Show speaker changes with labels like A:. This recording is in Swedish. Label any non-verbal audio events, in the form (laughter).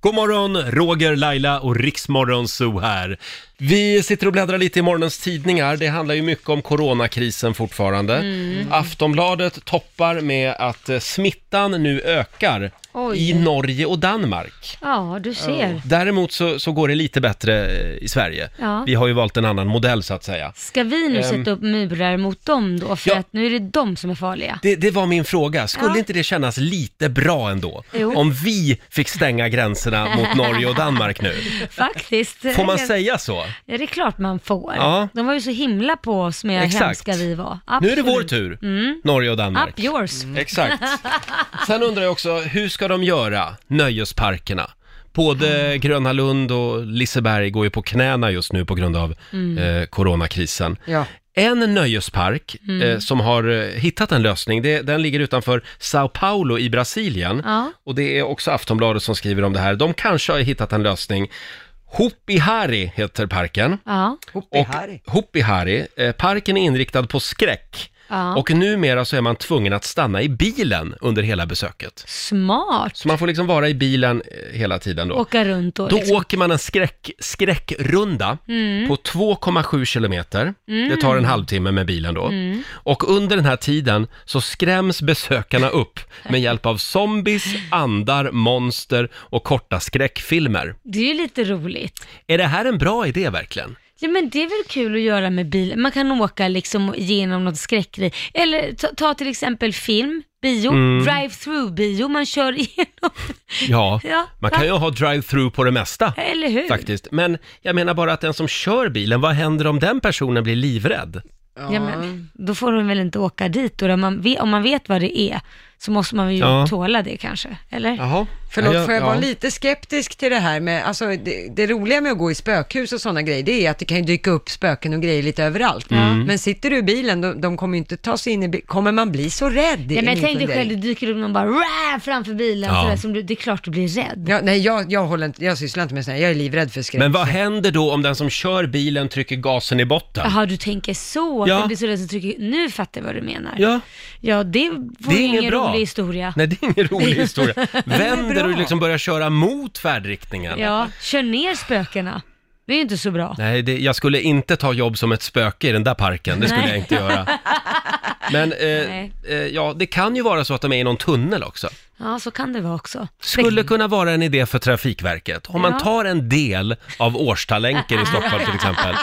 A: God morgon, Roger, Laila och Riksmorgon Zoo här. Vi sitter och bläddrar lite i morgonens tidningar. Det handlar ju mycket om coronakrisen fortfarande.
B: Mm.
A: Aftonbladet toppar med att eh, smittan nu ökar
B: Oj.
A: i Norge och Danmark.
B: Ja, du ser.
A: Däremot så, så går det lite bättre eh, i Sverige.
B: Ja.
A: Vi har ju valt en annan modell så att säga.
B: Ska vi nu
A: Ehm.
B: sätta upp murar mot dem då? För
A: Ja.
B: att nu är det de som
A: (laughs)
B: är farliga.
A: Det, det var min fråga. Skulle
B: Ja.
A: inte det kännas lite bra ändå?
B: Jo.
A: Om vi fick stänga gränserna mot Norge och Danmark
B: (laughs)
A: nu?
B: Faktiskt.
A: Får man säga så?
B: Ja, det är klart man får.
A: Ja.
B: De var ju så himla på oss med hur
A: Exakt.
B: hemska vi var.
A: Nu är det
B: Absolut. Mm.
A: vår tur, Mm. Norge och Danmark.
B: Up yours. (laughs)
A: Exakt. Sen undrar jag också, hur ska de göra, nöjesparkerna?
B: Mm.
A: Både Gröna Lund och Liseberg går ju på knäna just nu på grund av
B: Mm.
A: eh, coronakrisen.
C: Ja.
A: En nöjespark
B: Mm.
A: eh, som har eh, hittat en lösning, det, den ligger utanför Sao Paulo i Brasilien.
B: Ja.
A: Och det är också Aftonbladet som skriver om det här. De kanske har hittat en lösning. Hopihari heter parken.
B: Ja.
C: Hoppy
A: Och
C: Harry.
A: Hopihari, eh, parken är inriktad på skräck.
B: ja.
A: Och numera så är man tvungen att stanna i bilen under hela besöket.
B: Smart.
A: Så man får liksom vara i bilen eh, hela tiden då.
B: Åka runt och
A: Då
B: liksom.
A: åker man en skräck, skräckrunda
B: Mm.
A: på 2,7 kilometer. Det tar en halvtimme med bilen då.
B: Mm.
A: Och under den här tiden så skräms besökarna
B: (laughs)
A: upp med hjälp av zombies, andar, monster och korta skräckfilmer.
B: Det är ju lite roligt.
A: Är det här en bra idé verkligen?
B: Ja, men det är väl kul att göra med bilen. Man kan åka liksom genom något skräckeri. Eller ta, ta till exempel film, bio,
A: Mm.
B: drive-through-bio. Man kör (laughs) igenom.
A: Ja,
B: Ja,
A: man kan ju ha drive-through på det mesta.
B: Eller hur?
A: Faktiskt, men jag menar bara att den som kör bilen, vad händer om den personen blir livrädd?
B: Ja, men, då får de väl inte åka dit då. Om man vet, om man vet vad det är så måste man ju
A: Ja.
B: tåla det kanske, eller?
A: Jaha.
C: Förlåt, får jag vara lite skeptisk till det här med, alltså det, det roliga med att gå i spökhus och sådana grejer, det är att det kan ju dyka upp spöken och grejer lite överallt. Men sitter du i bilen, de, de kommer ju inte ta sig in i bilen, kommer man bli så rädd? Det
B: Nej,
C: är
B: men
C: min
B: tänk dig
C: fundering.
B: själv, det dyker upp någon bara "Rah!" framför bilen,
A: Ja.
B: sådär, som du, det är klart du blir rädd.
C: Ja, nej, jag, jag, håller inte, jag sysslar inte med sådana, jag är livrädd för skräck.
A: Men vad händer då om den som kör bilen trycker gasen i botten?
B: Jaha, du tänker så, att
A: Ja.
B: jag blir så rädd så trycker Nu fattar jag vad du menar.
A: Ja,
B: Ja, det var
A: det är
B: ju ingen
A: inget bra.
B: rolig historia.
A: Nej, det är ingen rolig historia. Vänder
C: bra.
A: du liksom börjar köra mot färdriktningen?
B: Ja, kör ner spökena. Det är ju inte så bra.
A: Nej, det, jag skulle inte ta jobb som ett spöke i den där parken. Det skulle
B: Nej.
A: jag inte göra. Men eh,
B: Nej.
A: eh, ja, det kan ju vara så att de är i någon tunnel också.
B: Ja, så kan det vara också.
A: Skulle kunna vara en idé för Trafikverket. Om man
B: Ja.
A: tar en del av Årstalenken i Stockholm till exempel